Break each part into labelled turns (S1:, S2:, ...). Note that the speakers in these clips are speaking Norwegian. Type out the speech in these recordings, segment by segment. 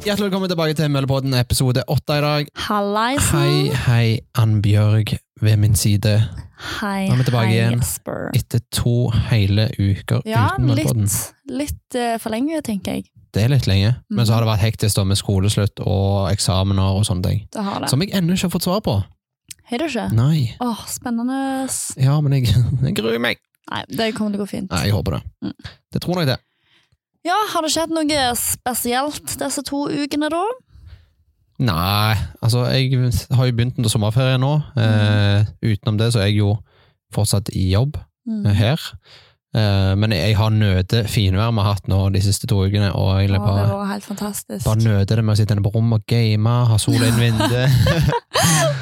S1: Hjertelig velkommen tilbake til Møllepodden episode åtte i dag.
S2: Hallaisen.
S1: Hei, hei, Annbjørg ved min side.
S2: Hei,
S1: Nå er vi tilbake
S2: hei,
S1: igjen.
S2: Jesper.
S1: Etter to hele uker
S2: Ja,
S1: uten Møllepodden.
S2: litt, litt eh, for lenge, tenker jeg.
S1: Det er litt lenge. Men
S2: Mhm.
S1: så har det vært hektisk da med skoleslutt og eksamener og sånne ting.
S2: Det har det.
S1: Som jeg ennå ikke har fått svar på.
S2: Har du ikke?
S1: Nei.
S2: Åh, spennende. s-
S1: Ja, men jeg, jeg gruer meg.
S2: Nei, det kommer til å gå fint.
S1: Nei, jeg håper det.
S2: Mm.
S1: Det tror jeg det.
S2: Ja, har det skjedd noe spesielt disse to ukene da?
S1: Nei, altså jeg har jo begynt under sommerferie nå.
S2: Mhm.
S1: Eh, utenom det så er jeg jo fortsatt i jobb.
S2: Mm.
S1: her. Eh, Men jeg har nøde finvær vi har hatt nå de siste to ukene, og
S2: Åh,
S1: egentlig
S2: det
S1: bare,
S2: var helt fantastisk.
S1: bare nøde det med å sitte inne på rommet og game, ha sola inn vinduet.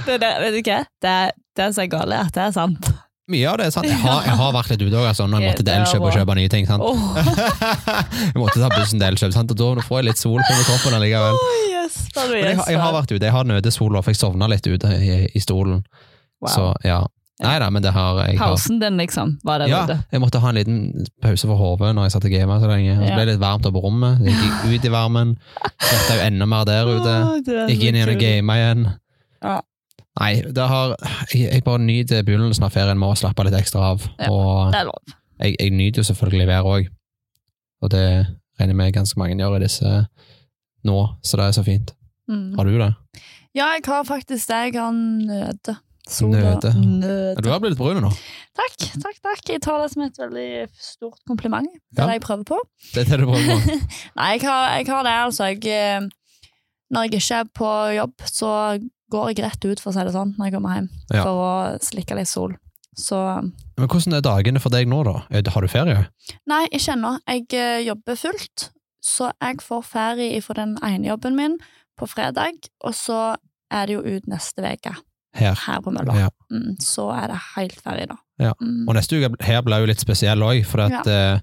S2: Det, det, vet du hva? Det, det er så galt at det er sant.
S1: Mye av det er sant. Jeg har, jeg har vært litt ute òg, altså, når jeg måtte til
S2: Det var
S1: Elkjøp og
S2: bra.
S1: kjøpe nye ting. sant?
S2: Åh,
S1: jeg måtte ta bussen til Elkjøp, sant? og da får jeg litt sol på kroppen allikevel.
S2: Jesper,
S1: Men jeg, har- jeg har vært ute, jeg har nøde sola, for jeg sovna litt ute i, i stolen.
S2: Wow.
S1: Så ja. Nei da, men det har jeg. Har.
S2: Pausen din, liksom, var det
S1: Ja,
S2: ute.
S1: jeg måtte ha en liten pause for hodet når jeg satt og gamet så lenge. Og så ble det litt varmt oppe på rommet, så jeg gikk ut i varmen. Svetta jo enda mer der ute.
S2: Åh, det er så
S1: Gikk inn igjen og
S2: kult.
S1: gamet igjen.
S2: Ja.
S1: Nei, det har, jeg, jeg bare nyter begynnelsen av ferien med å slappe litt ekstra av.
S2: Ja.
S1: Og
S2: Det er lov.
S1: jeg, jeg nyter jo selvfølgelig været òg. Og det regner jeg med ganske mange gjør i disse nå, så det er så fint.
S2: Mm.
S1: Har du det?
S2: Ja, jeg har faktisk det. Jeg har nøde.
S1: Nøde.
S2: nøde.
S1: Du har blitt brun nå.
S2: Takk, takk, takk. Jeg tar det som et veldig stort kompliment. Det
S1: Ja.
S2: er det jeg prøver på.
S1: Det er det du prøver på.
S2: Nei, jeg har, jeg har det, altså. Jeg, eh, når jeg ikke er på jobb, så går jeg rett ut, for å si det sånn, når jeg kommer hjem.
S1: Ja.
S2: For å slikke litt sol. Så
S1: Men hvordan er dagene for deg nå, da? Er- Har du ferie?
S2: Nei, ikke ennå. Jeg eh, jobber fullt, så jeg får ferie fra den ene jobben min på fredag, og så er det jo ut neste uke
S1: Her.
S2: her på Mølla.
S1: Ja.
S2: Mm, så er det helt ferie, da.
S1: Ja.
S2: Mm.
S1: Og neste uke her ble jo litt spesiell òg, for at eh,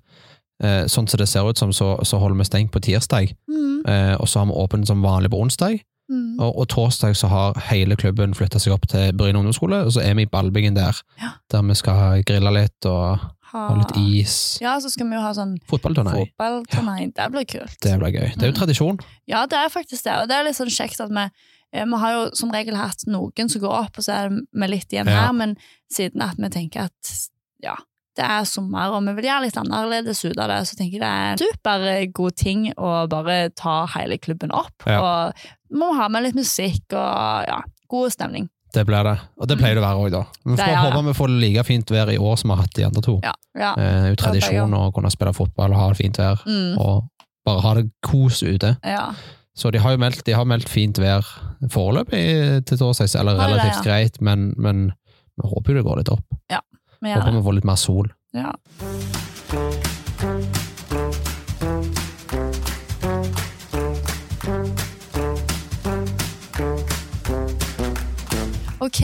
S1: eh, sånn som det ser ut som, så, så holder vi stengt på tirsdag,
S2: Mm.
S1: eh, og så har vi åpent som vanlig på onsdag.
S2: Mm.
S1: Og, og torsdag så har hele klubben flytta seg opp til Bryne ungdomsskole, og så er vi i Ballbingen der,
S2: Ja. Ah.
S1: der vi skal grille litt og ha litt is.
S2: Ja, så skal vi jo ha sånn
S1: Fotballturnering.
S2: fotballturnering. Det blir kult.
S1: Det blir gøy.
S2: Mm.
S1: Det er jo tradisjon.
S2: Ja, det er faktisk det. Og det er litt sånn kjekt at vi eh, vi har jo som regel hatt noen som går opp, og så er vi litt igjen
S1: Ja.
S2: her, men siden at vi tenker at ja, det er sommer, og vi vil gjøre litt annerledes ut av det, så tenker jeg det er en supergod ting å bare ta hele klubben opp.
S1: Ja.
S2: Og må ha med litt musikk og ja, god stemning.
S1: Det blir det. Og det pleier det å være òg, da. Vi
S2: Mm. Det
S1: får
S2: er det.
S1: håpe vi får like fint vær i år som vi har hatt de andre to.
S2: Ja. ja.
S1: Eh, Det er jo
S2: Håper jeg
S1: tradisjon å kunne spille fotball og ha det fint vær,
S2: Mm,
S1: og bare ha det kos ute.
S2: ja.
S1: Så de har jo meldt, de har meldt fint vær foreløpig til torsdag, eller
S2: Har de det,
S1: relativt
S2: ja?
S1: greit, men, men vi håper jo det går litt opp.
S2: Vi gjør
S1: Håper
S2: det.
S1: vi får litt mer sol.
S2: Ja. Ok,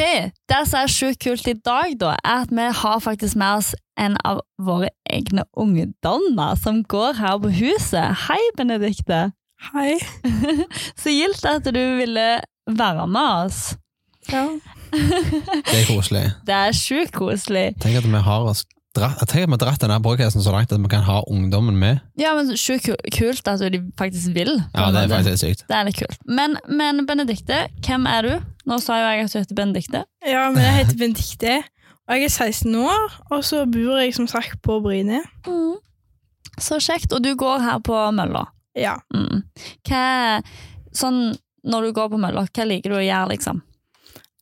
S2: det som er sjukt kult i dag, da, er at vi har faktisk med oss en av våre egne ungdommer som går her på huset. Hei, Benedikte.
S3: Hei.
S2: Så gildt at du ville være med oss.
S3: Ja.
S1: Det er koselig.
S2: Det er sjukt koselig.
S1: Tenk at vi har oss dra- jeg tenker at vi har dratt denne podcasten så langt at vi kan ha ungdommen med.
S2: Ja, men sjukt ku- kult at de faktisk vil. på
S1: Ja,
S2: en
S1: det er
S2: måte.
S1: faktisk sykt.
S2: Det er litt kult. Men, men Benedikte, hvem er du? Nå sa jo jeg at du heter Benedikte.
S3: ja, men jeg heter Benedikte, og jeg er 16 år, og så bor jeg som sagt på Bryne.
S2: Mm. Så kjekt. Og du går her på mølla.
S3: Ja.
S2: Mm. Hva, sånn, når du går på mølla, hva liker du å gjøre, liksom?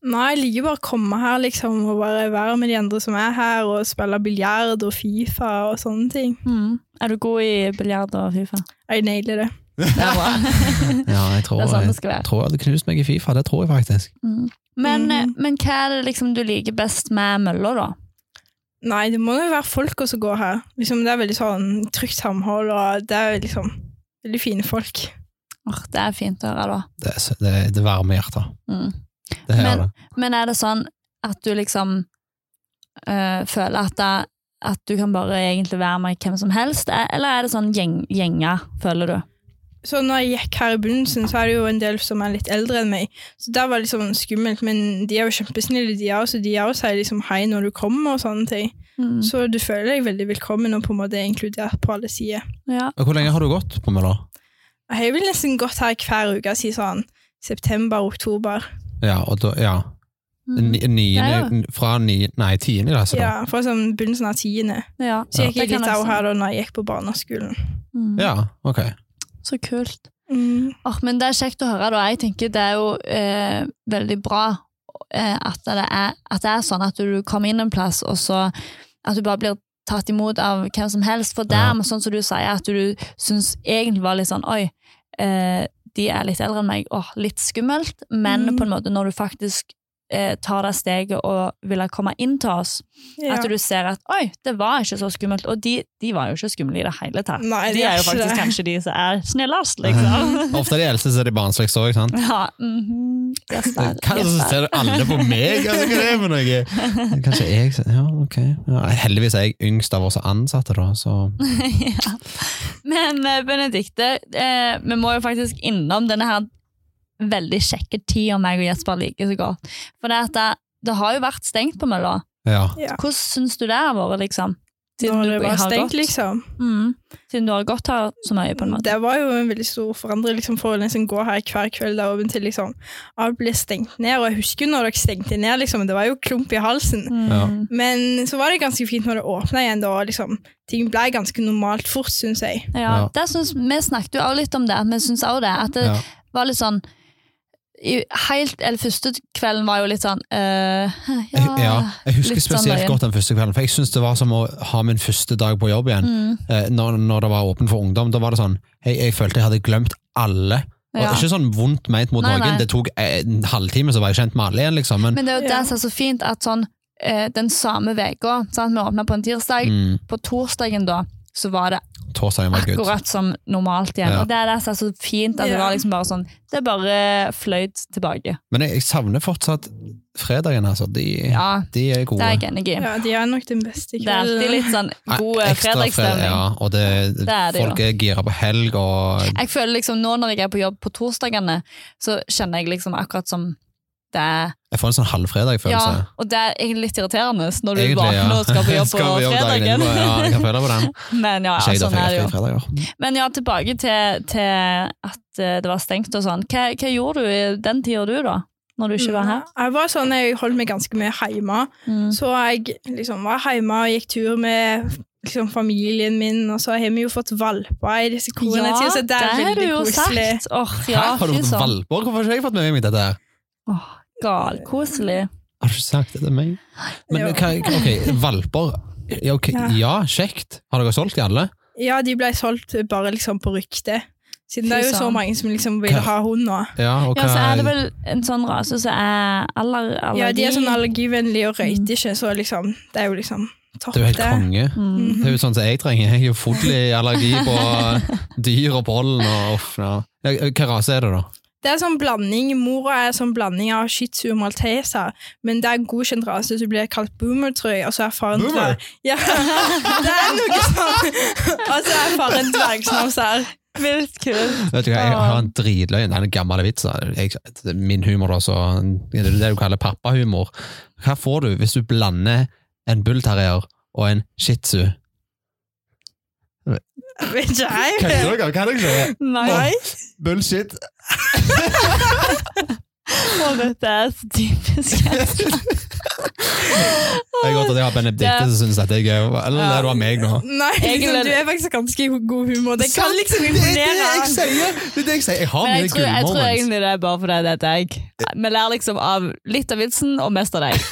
S3: Nei, jeg liker bare å komme her liksom, og bare være med de andre som er her, og spille biljard og Fifa og sånne ting.
S2: Mm. Er du god i biljard og Fifa?
S3: Jeg nailer det.
S2: Det er bra.
S1: Ja, jeg tror
S2: Det er sånn
S1: jeg,
S2: det skal være.
S1: tror jeg hadde knust meg i FIFA, det tror jeg faktisk.
S2: Mm. Men,
S3: Mhm.
S2: men hva er det liksom du liker best med mølla, da?
S3: Nei, det må jo være folka som går her. Liksom, det er veldig sånn trygt samhold, og det er liksom veldig fine folk.
S2: Åh, det er fint å høre, da.
S1: Det, er så- det, det varmer hjertet.
S2: Mm.
S1: Det her
S2: Men-
S1: er det.
S2: Men er det sånn at du liksom øh, føler at, det, at du kan bare egentlig være med hvem som helst, e- eller er det sånn gjeng, gjenger, føler du?
S3: Så når jeg gikk her i begynnelsen, så er det jo en del som er litt eldre enn meg. Så det var litt sånn skummelt, men de er jo kjempesnille, de er også. De er også sier liksom hei når du kommer og sånne ting.
S2: Mm.
S3: Så du føler deg veldig velkommen og på en måte inkludert på alle sider.
S2: Ja.
S1: Og hvor lenge har du gått på Møller?
S3: Jeg vil nesten gått her hver uke og si sånn september-oktober.
S1: Ja, og da, ja.
S2: Mm.
S1: Ni- Niende,
S2: Ja,
S1: fra ni, nei, tiende klasse, da.
S3: Ja, fra sånn begynnelsen av tiende.
S2: Ja.
S3: Så
S2: Ja.
S3: gikk jeg
S2: Det kan
S3: litt
S2: jeg
S3: av
S2: også.
S3: her da når jeg gikk på barneskolen.
S2: Mm.
S1: Ja, ok.
S2: Så kult.
S3: Mm.
S2: Åh, men det er kjekt å høre, da. Jeg tenker det er jo eh, veldig bra eh, at, det er, at det er sånn at du kommer inn en plass, og så at du bare blir tatt imot av hvem som helst. For
S1: Ja.
S2: dermed, sånn som du sier, at du syns egentlig var litt sånn oi, eh, de er litt eldre enn meg, åh, litt skummelt. Men
S3: Mm.
S2: på en måte når du faktisk eh, tar det steget og vil komme inn til oss,
S3: Ja.
S2: at du ser at oi, det var ikke så skummelt. Og de, de var jo ikke skumle i det hele tatt.
S3: Nei,
S2: de
S3: det
S2: er jo
S3: ikke
S2: faktisk
S3: det.
S2: kanskje de som er snillest, liksom.
S1: Ofte er de eldste, så er de barnsligst òg, sant?
S2: ja, mhm, yes,
S1: Hva
S2: sir,
S1: er det
S2: yes,
S1: som
S2: sir.
S1: ser alle på meg? Altså, hva er det for noe? Kanskje jeg Ja, ok. Ja, heldigvis er jeg yngst av oss ansatte, da, så
S2: ja. Men eh, Benedikte, eh, vi må jo faktisk innom denne her veldig kjekke tida meg og Jesper liker så godt. For det, at det, det har jo vært stengt på mølla.
S1: ja.
S3: Ja.
S2: Hvordan syns du det har vært, liksom?
S3: Når det
S2: du
S3: var
S2: har
S3: stengt,
S2: gått-
S3: liksom.
S2: Mm, siden du har gått her så mye, på en måte.
S3: Det var jo en veldig stor forandring liksom, for å liksom, gå her hver kveld da, og til liksom, alt ble stengt ned. Og jeg husker jo når dere stengte ned, liksom, det var jo klump i halsen.
S2: Mm.
S1: Ja.
S3: Men så var det ganske fint når det åpna igjen, da, og liksom, ting ble ganske normalt fort, syns jeg.
S2: Ja,
S1: Ja.
S2: det syns- vi snakket jo også litt om det, at vi syns også det. At det
S1: ja.
S2: var litt sånn i, helt, eller Første kvelden var jo litt sånn øh, ja,
S1: Jeg- ja. Jeg husker
S2: litt sånn
S1: spesielt
S2: løyen.
S1: godt den første kvelden, for jeg syns det var som å ha min første dag på jobb igjen.
S2: Mm,
S1: Eh, Når, når det var åpent for ungdom, da var det sånn Jeg, jeg følte jeg hadde glemt alle. Og
S2: ja.
S1: Ikke sånn vondt ment mot
S2: Nei,
S1: noen,
S2: nei.
S1: det tok eh, en halvtime, så var jeg kjent med alle igjen, liksom. Men,
S2: Men det er jo
S3: Ja.
S2: det som er så fint, at sånn øh, den samme uka Vi åpna på en tirsdag.
S1: mm,
S2: På torsdagen da så var det
S1: torsdagen var good.
S2: akkurat som normalt igjen.
S1: Ja.
S2: Og det er det som er så fint, at det
S3: Ja.
S2: var liksom bare sånn Det bare fløyt tilbake.
S1: Men jeg, jeg savner fortsatt fredagen, altså. De,
S2: Ja,
S1: de er
S2: det
S1: gode.
S2: er jeg enig i.
S3: Ja, de er nok den beste
S2: Det er alltid
S3: kvelden.
S2: litt sånn god
S1: Eh,
S2: eh,
S1: ekstra fred-
S2: fredagsstemning.
S1: Ja, og det,
S2: er det jo.
S1: folk er gira på helg og
S2: Jeg føler liksom nå når jeg er på jobb på torsdagene, så kjenner jeg liksom akkurat som det er
S1: Jeg får en sånn halvfredag-følelse.
S2: Ja, og det er egentlig litt irriterende når du
S1: Egentlig, ja.
S2: våkner og skal på jobb på
S1: Skal dagen
S2: fredagen.
S1: etterpå, Ja, jeg kan føle på den.
S2: Men ja,
S1: Ikke jeg, da,
S2: sånn
S1: for
S2: er det
S1: jeg har
S2: jo.
S1: fri fredager.
S2: Men ja, tilbake til, til at eh, det var stengt og sånn. Hva, hva gjorde du i den tida du, da? Når du ikke var her?
S3: Jeg var sånn, jeg holdt meg ganske mye hjemme.
S2: Mm.
S3: Så jeg liksom, var hjemme og gikk tur med liksom, familien min, og så har vi jo fått valper i disse koronatidene, så det er
S2: det har du
S3: veldig
S2: jo
S3: koselig.
S2: sagt. Åh,
S1: Hæ,
S2: ja,
S1: har du
S2: fy
S1: fått
S2: søren.
S1: valper? Hvorfor har ikke jeg fått med meg dette? her?
S2: Åh, Galkoselig.
S1: Har du ikke sagt det til meg? Men
S3: Jo.
S1: hva, ok, valper ja, ok,
S3: Ja.
S1: ja, kjekt. Har dere solgt de alle?
S3: Ja, de ble solgt bare liksom på rykte.
S2: Fy
S3: Siden det er jo så
S2: søren.
S3: mange som liksom vil
S1: Hva-
S3: ha hund nå.
S1: Ja, og
S2: Ja, så er det
S1: hva
S2: vel en sånn rase som er aller, allergi.
S3: Ja, de er sånn allergivennlige og røyter ikke, så liksom, det er jo liksom topp Mhm.
S1: Det er jo helt konge.
S2: Mm.
S1: Det er jo sånn som jeg trenger. Jeg er jo full i allergi på dyr og pollen og uff. Ja. Ja, Hva rase er det, da?
S3: Det er sånn blanding, mora er sånn blanding av shih tzu og malteser, men det er godkjent rase, så blir det kalt boomer, tror jeg, og så er faren
S1: Boomer?
S3: dverg. Ja, det er noe sånn. Og så er faren dvergsnavser.
S2: Vilt kult.
S1: Vet du hva, Jeg har en dritløgn. Det er en gammel vits. da. Jeg, min humor, da. Så, det er det du kaller pappahumor. Hva får du hvis du blander en bullterrier og en shih tzu?
S3: Vet ikke jeg.
S1: dere? Hva er det dere?
S2: Nei.
S1: Bullshit.
S2: Og dette er så typisk.
S1: Det er godt at jeg har Benedicte som syns dette er gøy. Eller
S2: Ja.
S1: det var meg nå.
S3: Nei, liksom,
S2: Egentlig-
S3: du er faktisk ganske i god humor. Det kan
S1: Sant?
S3: liksom
S1: Det er det jeg
S3: imponere.
S1: sier! Det er det jeg sier. Jeg har
S2: Men
S1: mye
S2: jeg tror,
S1: kule
S2: jeg tror
S1: moments.
S2: egentlig det er bare fordi det er deg. Vi lærer liksom av litt av vitsen, og mest av deg.
S1: Jeg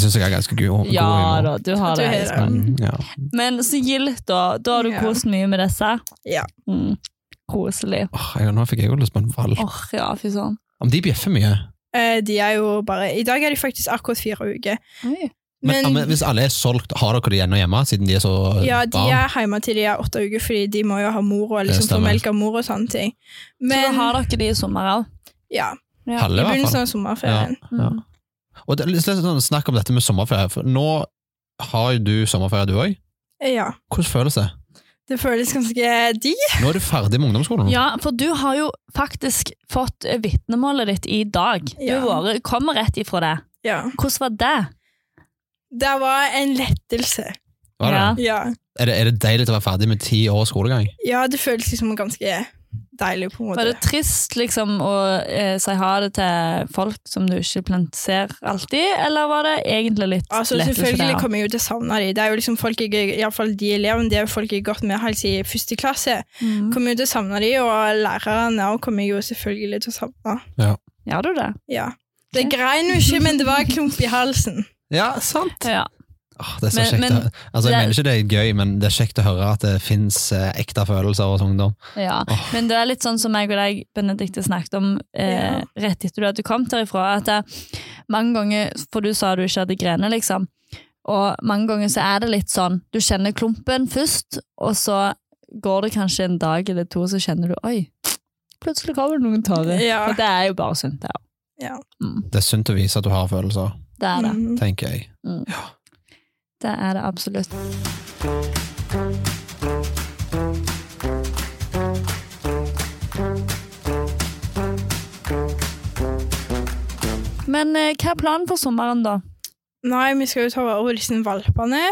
S1: syns jeg har ganske god, god
S2: Ja
S1: humor.
S2: da, du har
S3: Du
S2: det.
S3: har det.
S2: Espen.
S1: Mm, ja.
S2: Men så gildt, da. Da har du
S3: Ja.
S2: kost mye med disse.
S3: Ja.
S2: Mm. Koselig.
S1: Åh, jeg, nå fikk jeg jo lyst på en valp.
S2: Åh, ja, fy søren.
S1: Om de bjeffer mye.
S3: Eh, De er jo bare I dag er de faktisk akkurat fire uker.
S2: Oi.
S1: Men, ja,
S3: Men
S1: men hvis alle er solgt, har dere de ennå hjemme, siden de er så eh,
S3: ja, de
S1: barn?
S3: er hjemme til de er åtte uker, fordi de må jo ha mor og liksom få
S1: stemmer.
S3: melk av mor og sånne ting.
S2: så
S3: Men
S2: da har dere de i sommer òg.
S3: ja,
S2: ja,
S3: i
S1: Halve, i hvert
S3: begynnelsen
S1: fall.
S3: av sommerferien.
S1: Ja.
S2: Mm.
S1: Og det, er litt sånn, snakk om dette med sommerferie. For nå har jo du sommerferie, du òg.
S3: Ja.
S1: Hvordan føles det?
S3: Det føles ganske digg.
S1: Nå er du ferdig med ungdomsskolen.
S2: Ja, for du har jo faktisk fått eh, vitnemålet ditt i dag. Du
S3: Ja.
S2: har vært- kommer rett ifra det.
S3: Ja.
S2: Hvordan var det?
S3: Det var en lettelse.
S1: Var det?
S2: Ja.
S3: Ja.
S1: Er det, er det deilig å være ferdig med ti års skolegang?
S3: Ja, det føles liksom ganske deilig på en
S2: Var
S3: måte.
S2: det trist liksom å eh, si ha det til folk som du ikke plant ser alltid, eller var det egentlig litt
S3: Altså,
S2: lettelse for
S3: selvfølgelig
S2: deg?
S3: kommer jeg jo til å savne dem. Det er jo liksom folk jeg, i alle fall de elevene, det er jo folk jeg har gått med helt siden første klasse.
S2: Mhm.
S3: Kommer jo til å savne dem, og lærerne også kommer jeg jo selvfølgelig til å savne.
S2: Ja, du det.
S3: Ja. Det grein jo ikke, men det var en klump i halsen.
S1: Ja, sant!
S2: Ja.
S1: Åh, det er så
S2: Men-
S1: kjekt.
S2: men
S1: å- altså, jeg
S2: det-
S1: mener ikke det er gøy, men det er kjekt å høre at det fins eh, ekte følelser hos ungdom.
S2: Ja,
S1: Åh.
S2: men det er litt sånn som jeg og deg, Benedikte, snakket om eh,
S3: Ja.
S2: rett etter du hadde kommet herifra, at det, mange ganger, for du sa du ikke hadde grene, liksom, og mange ganger så er det litt sånn, du kjenner klumpen først, og så går det kanskje en dag eller to, så kjenner du, oi, plutselig kommer det noen tårer.
S3: Ja.
S2: Og det er jo bare sunt, det er jo.
S3: Ja.
S2: Mm,
S1: Det er sunt å vise at du har følelser,
S2: det er det.
S3: Mhm.
S1: tenker jeg.
S2: Det er det absolutt. Men eh, hva er planen for sommeren, da?
S3: Nei, vi skal jo ta vare på disse valpene.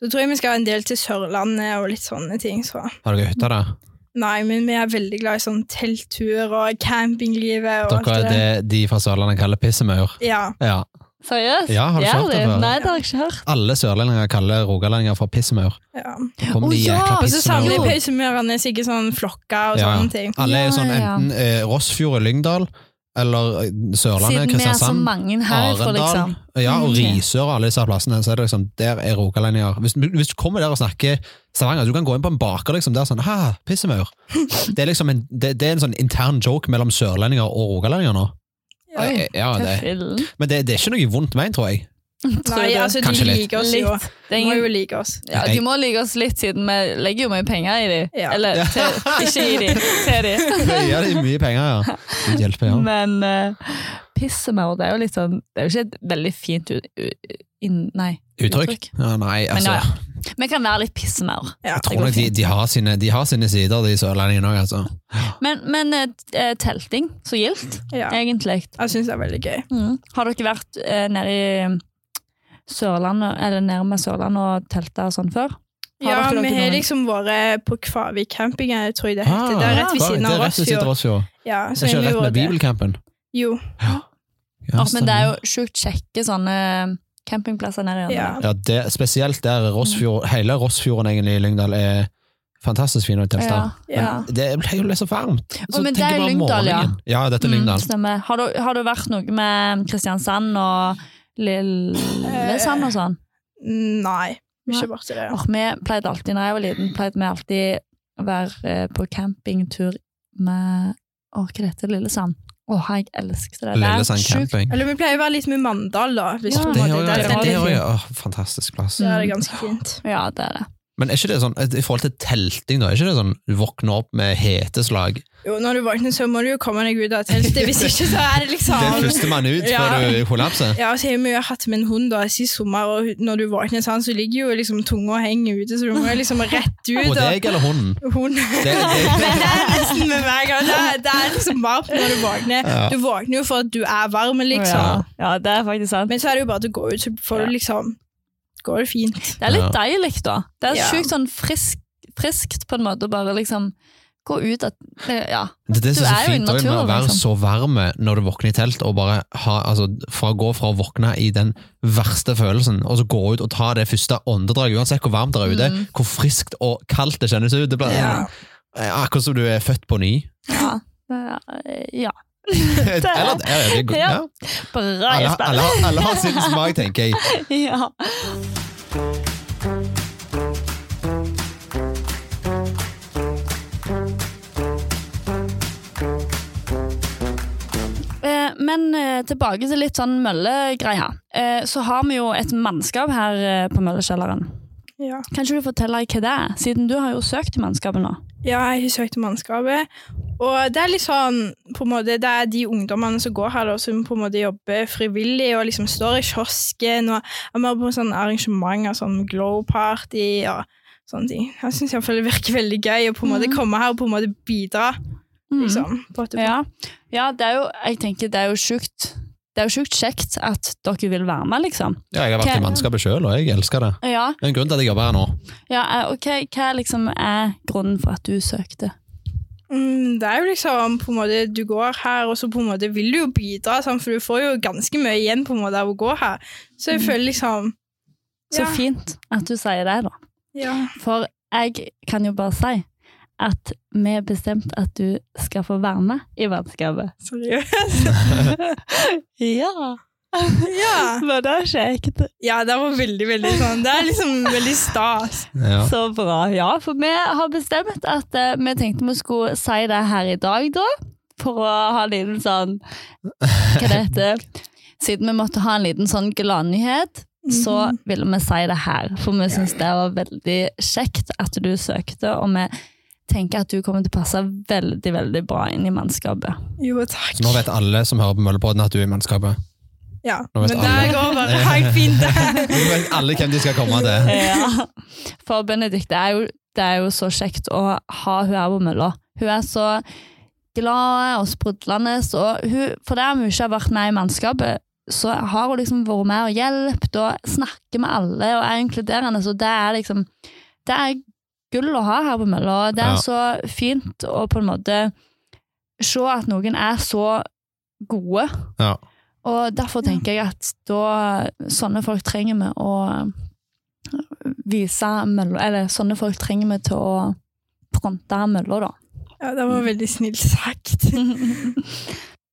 S3: Så tror jeg vi skal ha en del til Sørlandet og litt sånne ting. Så.
S1: Har dere hytte der?
S3: Nei, men vi er veldig glad i sånn telttur og campinglivet og
S1: Dere er det de fra Sørlandet kaller pissemaur.
S3: Ja.
S1: Ja.
S2: Seriøst?
S1: Ja, har du ikke hørt det
S2: Gjør de?
S1: før?
S2: Nei, det har jeg ikke hørt.
S1: Alle sørlendinger kaller rogalendinger for pissemaur.
S3: ja.
S1: Kom
S2: Å,
S1: de
S2: ja,
S1: jækla
S3: Og så savner
S1: pissemaur.
S3: jeg pausemørene sikkert sånn flokker
S1: Ja,
S3: og
S1: ja.
S3: sånne ting.
S1: Alle er jo sånn
S2: Ja, ja, ja.
S1: enten eh, Rossfjord og Lyngdal, eller eh, Sørlandet,
S2: Siden vi er så
S1: Kristiansand,
S2: mange herfra,
S1: Arendal
S2: liksom.
S1: ja, og
S2: Mm, ok.
S1: Risør og alle disse plassene. Så er det liksom, der er rogalendinger. Hvis, hvis du kommer der og snakker Stavanger, du kan gå inn på en baker, liksom, det er sånn ha, pissemaur. Det er liksom en, det, det er en sånn intern joke mellom sørlendinger og rogalendinger nå.
S3: Ja.
S1: Eh, Ja,
S2: Hva
S1: det.
S2: fillen?
S1: Men det, det er ikke noe vondt ment, tror jeg.
S2: Tror
S3: Nei,
S2: du?
S3: altså, de
S1: Kanskje litt.
S3: liker oss jo.
S2: Litt. Det er
S3: De må
S2: ingen
S3: jo like oss.
S2: Ja, De må like oss litt, siden vi legger jo mye penger i dem.
S3: Ja.
S2: Eller
S1: Ja.
S2: til, ikke i dem, til dem.
S1: Det gir dem mye penger, ja. Det hjelper, ja.
S2: Men uh, pissemaur, det er jo litt sånn Det er jo ikke et veldig fint ut... u- inn- Nei.
S1: Uttrykk? Ja, nei,
S2: Men
S1: altså.
S2: ja, ja. Vi kan være litt pissemaur.
S3: Ja.
S1: Jeg tror
S2: går
S1: nok de,
S2: fint.
S1: de, har sine, de har sine sider, de sørlendingene òg, altså.
S2: Men, men eh, t- eh, telting, så gildt,
S3: Ja.
S2: egentlig.
S3: Jeg syns det er veldig gøy.
S2: Mm. Har dere vært eh, nede i Sørlandet, eller nærme Sørlandet og telta og sånn før? Har
S3: Ja,
S2: dere
S3: vi
S2: noen-
S3: har liksom vært på Kvavik camping, jeg tror jeg det heter. Det er rett ved
S1: Ah, Altså,
S3: siden av
S1: Det er rett ved siden av
S3: Rossfjord.
S1: Rossfjord.
S3: Ja,
S1: Det
S3: så
S1: er
S3: har
S1: ikke
S3: vi
S1: rett med
S3: vært der.
S1: Bibelcampen.
S3: Jo.
S1: Ja,
S2: Men det er jo sjukt kjekke sånne eh, campingplasser nede i
S3: Ja.
S2: Ørnene.
S1: ja, det, Spesielt der Rossfjord, hele Rossfjorden egentlig i Lyngdal er fantastisk fin å telte.
S3: Ja.
S1: Men Det ble jo litt så varmt. Så
S2: Å, men det
S1: tenker
S2: er
S1: bare om
S2: Lyngdal, ja. Mm,
S1: morgenen. Ja, dette er Lyngdal.
S2: stemmer. Har du, har du vært noe med Kristiansand og Lillesand og sånn?
S3: Nei,
S2: Nei.
S3: ikke borti det.
S2: Åh, vi pleide alltid, når jeg var liten, pleide vi alltid å være eh, på campingtur med Åh, hva heter det? Lillesand? Åh, jeg elsket det. Det er
S1: Lillesand
S2: sjukt.
S1: camping.
S3: Eller vi pleier å være litt med Mandal, da. Hvis
S2: Ja,
S3: du
S1: Det
S3: må
S1: er jo
S3: det. Der
S2: det
S1: det Mm.
S3: er
S2: var
S1: er
S3: det Mm.
S1: jo-
S2: fint.
S1: ja, åh, fantastisk plass.
S3: Så er det ganske fint.
S2: Ja, det er det.
S1: Men er ikke det sånn, i forhold til telting, da, er ikke det sånn du våkner opp med heteslag?
S3: Jo, når du våkner, så må du jo komme deg ut av teltet. Hvis ikke, så er det
S1: Det er
S3: liksom
S1: førstemann ut
S3: Ja.
S1: før du kollapser?
S3: ja, så har Vi jo hatt med en hund da, sist sommer, og når du våkner sånn, så ligger jo liksom tunga og henger ute, så du må jo liksom rett ut.
S1: Og deg eller hunden?
S3: og hun. Men
S1: Det, det,
S3: det er nesten med hver gang. Det er, det er liksom varmt når du våkner.
S1: Ja.
S3: Du våkner jo for at du er varm, liksom.
S2: Ja, ja, det er faktisk sant.
S3: Men så er det jo bare til å gå ut, så får du liksom Går det fint.
S2: Det er litt
S1: Ja.
S2: deilig, da. Det er
S3: Ja.
S2: sjukt sånn frisk, friskt, på en måte, å bare liksom gå ut at eh, Ja.
S1: Det er det som
S2: Du
S1: er
S2: er
S1: så
S2: jo i
S1: fint også med å
S2: naturen,
S1: være så
S2: liksom.
S1: varm når du våkner i telt, og bare ha, altså, fra å gå fra å våkne i den verste følelsen, og så gå ut og ta det første åndedraget, uansett hvor varmt det er ute,
S2: Mm.
S1: hvor friskt og kaldt det kjennes ut. Det blir
S3: Ja.
S1: Eh, akkurat som du er født på ny.
S2: ja. Eh, Ja.
S1: Eller, det er jo-
S2: Ja.
S1: ja.
S2: Bra,
S1: alle,
S2: Jesper.
S1: alle, alle har sin smak, tenker jeg.
S2: Ja. Eh, Men eh, tilbake til litt sånn møllegreia. Eh, Så har vi jo et mannskap her eh, på Møllekjelleren.
S3: Ja.
S2: Kan ikke du fortelle hva det er, siden du har jo søkt i mannskapet nå?
S3: Ja, jeg har søkt om mannskapet. Og det er litt sånn, på en måte, det er de ungdommene som går her, da, som på en måte jobber frivillig og liksom står i kiosken og er med på sånne arrangementer som glow party og sånne ting. Jeg syns iallfall det virker veldig gøy å på en måte
S2: Mhm.
S3: komme her og på en måte bidra,
S2: Mm.
S3: liksom. På et-
S2: Ja. ja, det er jo Jeg tenker det er jo sjukt. Det det er jo sjukt kjekt at dere vil være med, liksom.
S1: Ja, jeg har vært i mannskapet sjøl, og jeg elsker det.
S2: Ja,
S1: Det er en grunn til at jeg jobber her nå.
S2: ja eh, ok, hva liksom er grunnen for at du søkte?
S3: Mm, Det er jo liksom på en måte Du går her, og så på en måte vil du jo bidra, sant? for du får jo ganske mye igjen på en måte av å gå her. Så jeg føler liksom
S2: Så
S3: Ja.
S2: fint at du sier det, da.
S3: ja.
S2: For jeg kan jo bare si at vi har bestemt at du skal få være med i vennskapet.
S3: Seriøst.
S2: Ja!
S3: Ja.
S2: Men det er kjekt.
S3: ja, det var veldig, veldig sånn Det er liksom veldig stas.
S1: Ja.
S2: Så bra. Ja, for vi har bestemt at eh, vi tenkte vi skulle si det her i dag, da. For å ha en liten sånn Hva det heter Siden vi måtte ha en liten sånn gladnyhet, så ville vi si det her. For vi syns det var veldig kjekt at du søkte, og vi tenker at du kommer til å passe veldig, veldig bra inn i mannskapet.
S3: Mhm. Jo, takk.
S1: Så nå vet alle som hører på Møllepodden at du er i mannskapet.
S3: ja.
S1: nå vet
S3: Men
S1: alle.
S3: det går bare helt fint. det.
S1: Nå vet alle hvem de skal komme til.
S2: Ja. For Benedicte er jo, det er jo så kjekt å ha hun her på mølla. Hun er så glad og sprudlende, og hun, for der hun ikke har vært med i mannskapet, så har hun liksom vært med og hjulpet og snakker med alle og er inkluderende, så det er liksom Det er gull å ha her på mølla. og Det er
S1: Ja.
S2: så fint å på en måte se at noen er så gode.
S1: Ja.
S2: Og derfor tenker jeg at da sånne folk trenger vi å øh, vise mølla Eller sånne folk trenger vi til å fronte mølla, da.
S3: Ja, det var veldig snilt sagt.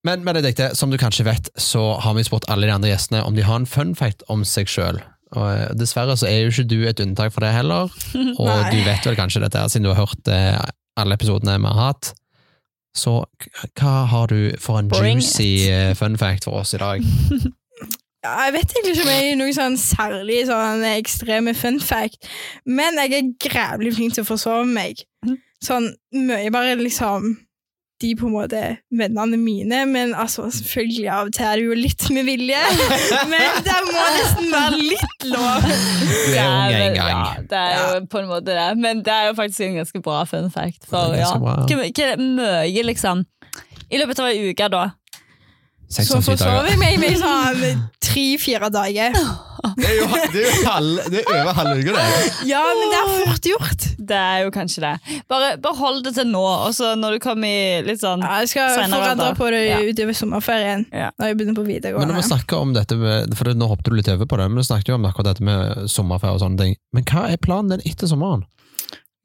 S1: Men Benedikte, som du kanskje vet, så har vi spurt alle de andre gjestene om de har en fun fact om seg sjøl. Dessverre så er jo ikke du et unntak for det heller, og
S3: Nei.
S1: du vet vel kanskje dette her, siden du har hørt eh, alle episodene vi har hatt. Så k- hva har du for en
S2: Bring
S1: juicy eh, fun fact for oss i dag?
S3: Ja, jeg vet egentlig ikke om jeg er noen sånn særlig sånn ekstreme fun fact, men jeg er grævlig flink til å forsove meg.
S2: Mhm.
S3: Sånn mye bare liksom de på en måte vennene mine, men altså selvfølgelig av og til er det jo litt med vilje, men det må nesten være litt lov.
S1: Du er ung en gang.
S2: det er jo på en måte det, men det er jo faktisk en ganske bra fun fact. For
S1: Det er
S2: ja,
S1: ganske bra.
S2: hva hva er mye, liksom I løpet av ei uke, da.
S1: Seks
S3: Så
S1: av syv
S3: forsover
S1: dager.
S3: jeg meg i sånn tre-fire dager.
S1: Det er jo, det er jo halv- det er over halv uke, det.
S3: Ja, men det er fort gjort.
S2: Det er jo kanskje det. Bare, bare hold det til nå, og så når du kommer i litt sånn
S3: Ja, jeg skal
S2: Senere
S3: forandre
S2: da.
S3: på det
S2: Ja.
S3: utover sommerferien,
S2: Ja.
S3: når jeg begynner på
S1: Men når
S3: videregående.
S1: vi snakker om dette, med- for nå hoppet du litt over på det, men vi snakket jo om akkurat dette med sommerferie og sånne ting. Men hva er planen din etter sommeren?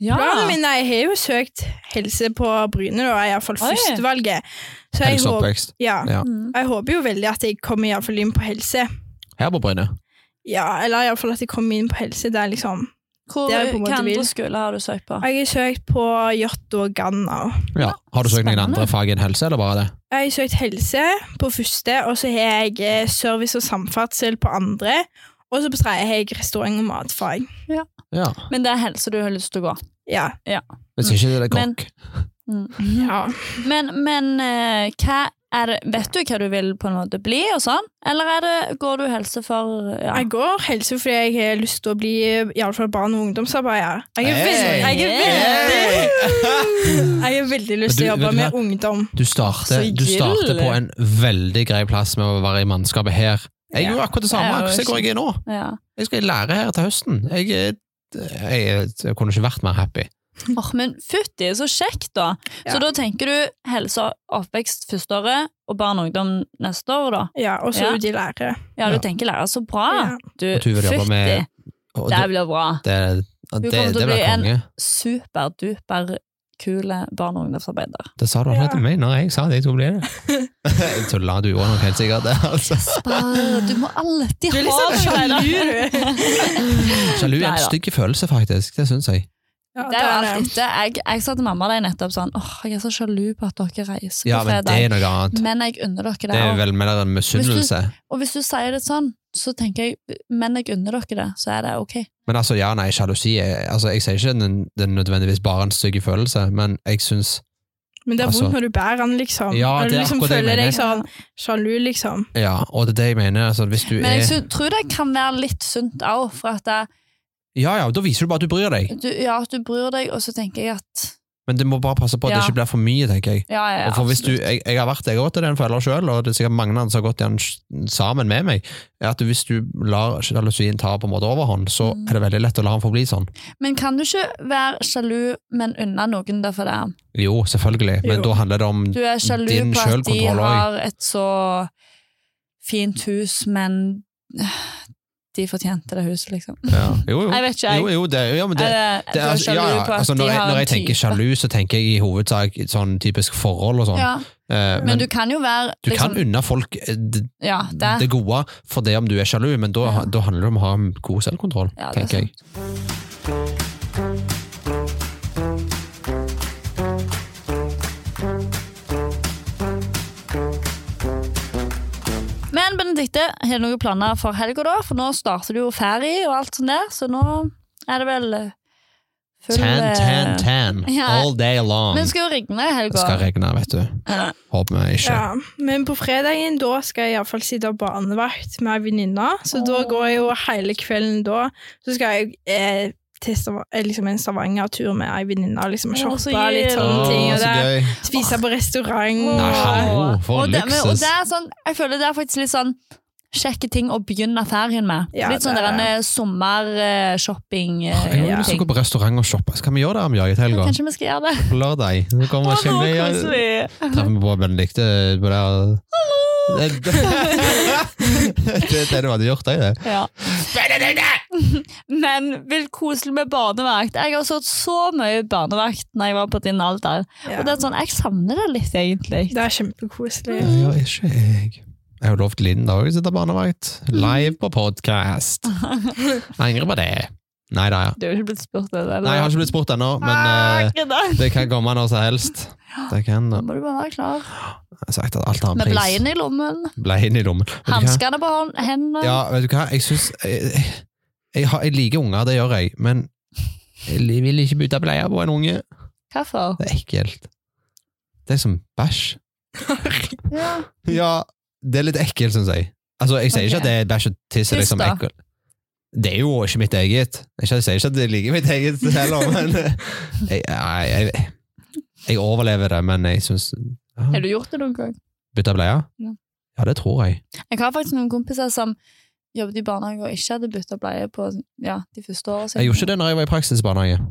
S2: Ja.
S3: Planen min er, jeg har jo søkt helse på Bryne, da, er iallfall
S2: Oi.
S3: førstevalget. Så jeg
S1: Helse og
S3: håper,
S1: oppvekst
S3: ja.
S1: sånn Ja.
S2: Mm.
S3: jeg håper jo veldig at jeg kommer i alle fall inn på helse.
S1: her på Bryne.
S3: Ja, eller iallfall at jeg kommer inn på helse. Det er liksom
S2: Hvor,
S3: Det er jo på en måte
S2: hva andre
S3: vil.
S2: skoler har du søkt på?
S3: Jeg har søkt på Yacht og Ganna.
S1: Ja. Har du søkt noen
S2: Spennende.
S1: andre fag enn helse, eller bare det?
S3: Jeg har søkt helse på første, og så har jeg eh, service og samferdsel på andre. Og så på tredje har jeg restaurant og matfag.
S1: Ja.
S2: Men det er helse du har lyst til å gå.
S3: Ja.
S1: Hvis ikke det er
S2: Men-
S1: kokk.
S2: Mm.
S3: ja.
S2: Men, men eh, hva er det, vet du hva du vil på en måte bli og sånn? Eller er det, går du helse for ja.
S3: Jeg går helse fordi jeg har lyst til å bli iallfall barn- og ungdomsarbeider. Jeg er veldig,
S1: Hey.
S3: jeg er veldig Jeg har veldig lyst til å
S1: Men du-
S3: jobbe
S1: vet
S3: med ungdom.
S1: Du starter,
S2: Så
S1: du starter
S2: gild.
S1: på en veldig grei plass med å være i mannskapet her. Jeg
S3: Ja.
S1: gjorde akkurat det
S2: Ja,
S1: samme.
S2: det var
S1: Se hvor jeg er nå.
S2: Ja.
S1: Jeg skal lære her til høsten. Jeg, er- jeg, jeg kunne ikke vært mer happy.
S2: Åh, men fytti, så kjekt, da!
S3: Ja.
S2: Så da tenker du helse og oppvekst første året, og barn og ungdom neste år, da?
S3: Ja, og så
S2: Ja. Ah,
S3: er de lærere.
S2: Ja, du
S1: Ja.
S2: tenker lærer, så bra!
S3: Ja.
S2: Du,
S1: Og du vil jobbe med- Og
S2: Det
S1: det,
S2: blir bra.
S1: det,
S2: Du
S1: det,
S2: kommer til å
S1: det
S2: bli
S1: blir
S2: en-
S1: konge.
S2: Superduper kule barn- og ungdomsarbeider.
S1: Det sa du allerede
S3: Ja.
S1: til meg når jeg sa det. Jeg tror det blir det. Jeg tulla, du gjorde nok helt sikkert det. Altså.
S2: Jesper, du sånn må alltid
S3: Du er liksom sjalu, du.
S1: Sjalu er
S2: Nei
S1: en
S2: da.
S1: stygg følelse, faktisk. Det syns jeg.
S3: Ja,
S2: Det er jo
S3: der
S2: alt etter. Jeg, jeg sa til mamma da jeg nettopp sånn Åh, jeg er så sjalu på at dere reiser
S1: Ja,
S2: på
S1: men det
S2: fredag.
S1: er noe annet.
S2: Men jeg unner dere
S1: Det
S2: det.
S1: er
S2: Og-
S1: vel mer en misunnelse.
S2: Og hvis du sier det sånn, så tenker jeg Men jeg unner dere det, så er det ok.
S1: Men altså, ja, nei, sjalusi er- altså, Jeg sier ikke den, den nødvendigvis bare en stygg følelse, men jeg syns
S3: Men det er vondt
S1: Altså-
S3: når du bærer den, liksom.
S1: Ja,
S3: når
S1: det
S3: du
S1: er
S3: liksom
S1: akkurat det jeg
S3: føler deg
S1: mener.
S3: sånn sjalu, liksom.
S1: Ja, og det er det jeg mener. Altså, hvis du
S2: Men jeg
S1: er
S2: sy- tror det kan være litt sunt òg, for at det,
S1: Ja, ja, da viser du bare at du bryr deg.
S2: du, ja, at du bryr deg, og så tenker jeg at
S1: Men du må bare passe på at det
S2: Ja.
S1: ikke blir for mye, tenker jeg.
S2: Ja, ja, ja,
S1: Og for hvis du,
S2: absolutt.
S1: jeg, jeg har vært jeg har gått til den fella sjøl, og det er sikkert mange andre som har gått i den sj- sammen med meg, er at hvis du lar sjalusien ta på en måte overhånd, så
S2: Mm.
S1: er det veldig lett å la han forbli sånn.
S2: Men kan du ikke være sjalu, men unna noen derfor det er?
S1: Jo, selvfølgelig, men
S3: Jo.
S1: da handler det om
S2: Du er sjalu
S1: Din
S2: på at de
S1: selvkontroll også.
S2: har et så fint hus, men øh, de fortjente det huset, liksom.
S1: ja. Jo, jo.
S2: Jeg vet ikke, jeg.
S1: Jo, jo, det, jo, men det,
S2: Er det-
S1: det
S2: du
S1: er,
S2: er
S1: ja,
S2: sjalu
S1: ja.
S2: på at
S1: Altså,
S2: de
S1: når, jeg,
S2: har
S1: når
S2: en
S1: jeg tenker
S2: type.
S1: sjalu, så tenker jeg i hovedsak sånn typisk forhold og sånn.
S2: Ja,
S1: Eh,
S2: men,
S1: men
S2: du kan jo være
S1: du
S2: liksom,
S1: kan unne folk eh, d-
S2: Ja, det.
S1: det gode for det om du er sjalu, men da,
S2: Ja.
S1: da handler det om å ha en god selvkontroll,
S2: Ja, det er
S1: tenker jeg.
S2: Men Benedikte, har du noen planer for helga, da? For nå starter du jo ferie og alt sånt der, så nå er det vel eh, full
S1: Tan, tan,
S2: eh,
S1: tan.
S2: Ja.
S1: All day long.
S2: Men det skal jo regne i
S1: Det skal
S2: helga.
S1: regne, vet du.
S2: Ja.
S1: Håper vi ikke.
S3: Ja, men på fredagen da skal jeg iallfall sitte barnevakt med ei venninne, så da
S2: Åh.
S3: går jeg jo hele kvelden da. Så skal jeg eh, til Stav- eh, liksom en Stavanger-tur med ei venninne, liksom
S2: Åh, så
S3: shoppe litt sånne
S2: gøy.
S3: ting.
S1: Å,
S3: Og
S1: så
S3: det,
S1: gøy.
S3: spise på restaurant.
S2: Åh.
S1: Nei, hallo, for
S2: og det, men, og
S1: luksus.
S2: det er sånn, jeg føler det er faktisk litt sånn kjekke ting å begynne ferien med.
S3: Ja,
S2: litt sånn eh,
S3: det er
S2: der sommershopping.
S1: Jeg har jo
S3: Ja.
S1: lyst til å gå på restaurant og shoppe. Skal vi gjøre det om jeg til helga?
S2: eh, Kanskje vi skal gjøre det?
S1: På lørdag. Så kommer
S2: Å, nå
S1: ikke
S2: koser
S1: vi.
S2: vi.
S1: Treffer vi på Benedicte på det her- Det det er det du hadde gjort, deg, det.
S2: Ja. Men vil koselig med barnevakt. Jeg har sett så mye barnevakt når jeg var på din alder. Og det
S3: Ja.
S2: er sånn, jeg savner det litt, egentlig.
S3: Det er kjempekoselig.
S1: Nei, ja, ikke jeg. Jeg har jo lovt Linda òg å sitte barnevakt. Live på podkast. Angrer på det. Nei da, ja.
S2: Du har jo ikke blitt spurt om det. Ah,
S1: Nei, jeg har ikke blitt spurt ennå, men eh, det kan komme når som helst. Det kan
S2: Da
S1: det.
S2: må du bare være klar.
S1: Jeg har sagt at alt har en
S2: Med
S1: pris.
S2: bleiene i lommen,
S1: Bleien i lommen. Vet du hva?
S2: hanskene på hånd- hendene.
S1: Ja, vet du hva, jeg syns jeg, jeg, har- jeg liker unger, det gjør jeg, men jeg vil ikke bytte bleie på en unge.
S2: Hvorfor?
S1: Det er ekkelt. Det er som bæsj.
S2: Ja.
S1: Ja, det er litt ekkelt, syns jeg. Altså, jeg sier ikke
S2: Ok.
S1: at det er bæsj og tiss er
S2: Tiss,
S1: liksom
S2: da?
S1: ekkelt. Det er jo ikke mitt eget. Ikke- Jeg sier ikke at jeg liker mitt eget heller, men eh, jeg, nei, jeg, jeg overlever det, men jeg syns
S2: Har
S1: ja,
S2: du gjort det noen gang?
S1: Bytte bleie?
S2: Ja.
S1: Ja, det tror jeg.
S2: Jeg har faktisk noen kompiser som jobbet i barnehage og ikke hadde bytta bleie på ja, de første årene.
S1: Jeg gjorde ikke det når jeg var i praksisbarnehage.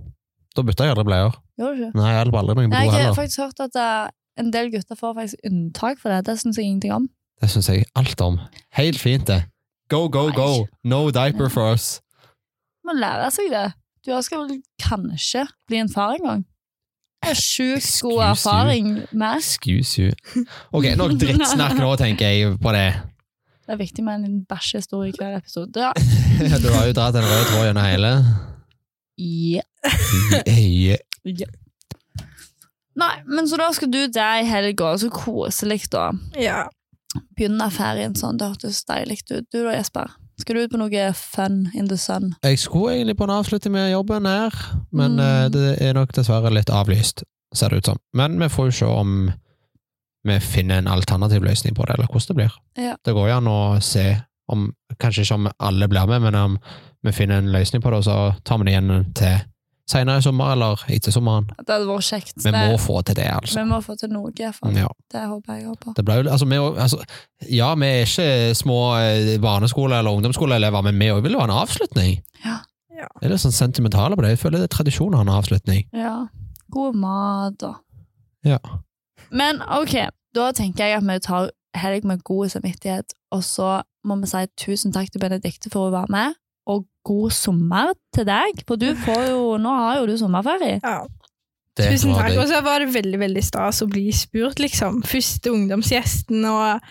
S1: Da bytta jeg aldri bleier.
S2: Gjorde du ikke?
S1: Nei, jeg hjalp aldri noen på do
S2: Nei, jeg har
S1: heller.
S2: faktisk hørt at eh, en del gutter får faktisk unntak for det. Det syns jeg ingenting om.
S1: Det syns jeg alt om. Helt fint, det. Go, go,
S2: Nei.
S1: go! No diaper for us.
S2: Man lærer seg det. Du skal vel kanskje bli en far en gang. Det er sjukt
S1: Excuse
S2: god
S1: you.
S2: erfaring med.
S1: Excuse you. Ok, nok drittsnakk nå, tenker jeg på det.
S2: Det er viktig med en liten bæsjehistorie i hver episode. Ja.
S1: Du har jo dratt en rød tråd gjennom hele.
S2: Ja.
S1: Yeah.
S2: Ja. Nei, men så da skal du der i helga, så koselig, da.
S3: Ja.
S2: begynne ferien sånn. Det hørtes deilig ut. Du da, Jesper? Skal du ut på noe fun in the sun?
S1: Jeg skulle egentlig på en avslutning med jobben her, men
S2: Mm.
S1: eh, det er nok dessverre litt avlyst, ser det ut som. Men vi får jo se om vi finner en alternativ løsning på det, eller hvordan det blir.
S2: Ja.
S1: Det går jo an å se om Kanskje ikke om alle blir med, men om vi finner en løsning på det, og så tar vi det igjen til senere i sommer eller etter sommeren.
S2: Det hadde vært kjekt.
S1: Vi må
S2: Det-
S1: få til det, altså.
S2: vi må få til noe, i hvert fall.
S1: Ja.
S2: Det håper jeg også på.
S1: Det ble, jo- altså, vi, er jo- altså, ja, vi er ikke små eh, barneskole- eller ungdomsskoleelever, men vi også vil jo ha en avslutning.
S2: Ja.
S3: Ja.
S1: Jeg er litt sånn sentimentale på det. Jeg føler det er tradisjon å ha en avslutning.
S2: Ja. God mat og
S1: Ja.
S2: Men ok, da tenker jeg at vi tar helg med god samvittighet, og så må vi si tusen takk til Benedikte for å være med, og god sommer til deg, for du får jo, nå har jo du sommerferie.
S3: ja.
S1: Det
S3: Tusen
S1: var
S3: takk.
S1: det.
S3: Og så var det veldig veldig stas å bli spurt, liksom. Første ungdomsgjesten og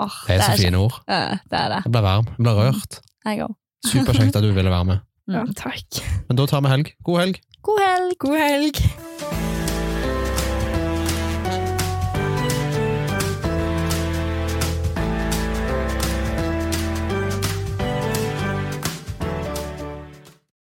S2: Åh,
S1: Det er så
S2: kjekt.
S1: fine ord.
S2: Ja, Det er det.
S1: Jeg ble varm. Jeg ble rørt.
S2: Jeg også.
S1: Superkjekt at du ville være med.
S3: Ja, takk.
S1: Men da tar vi helg. God helg.
S2: God helg!
S3: God helg.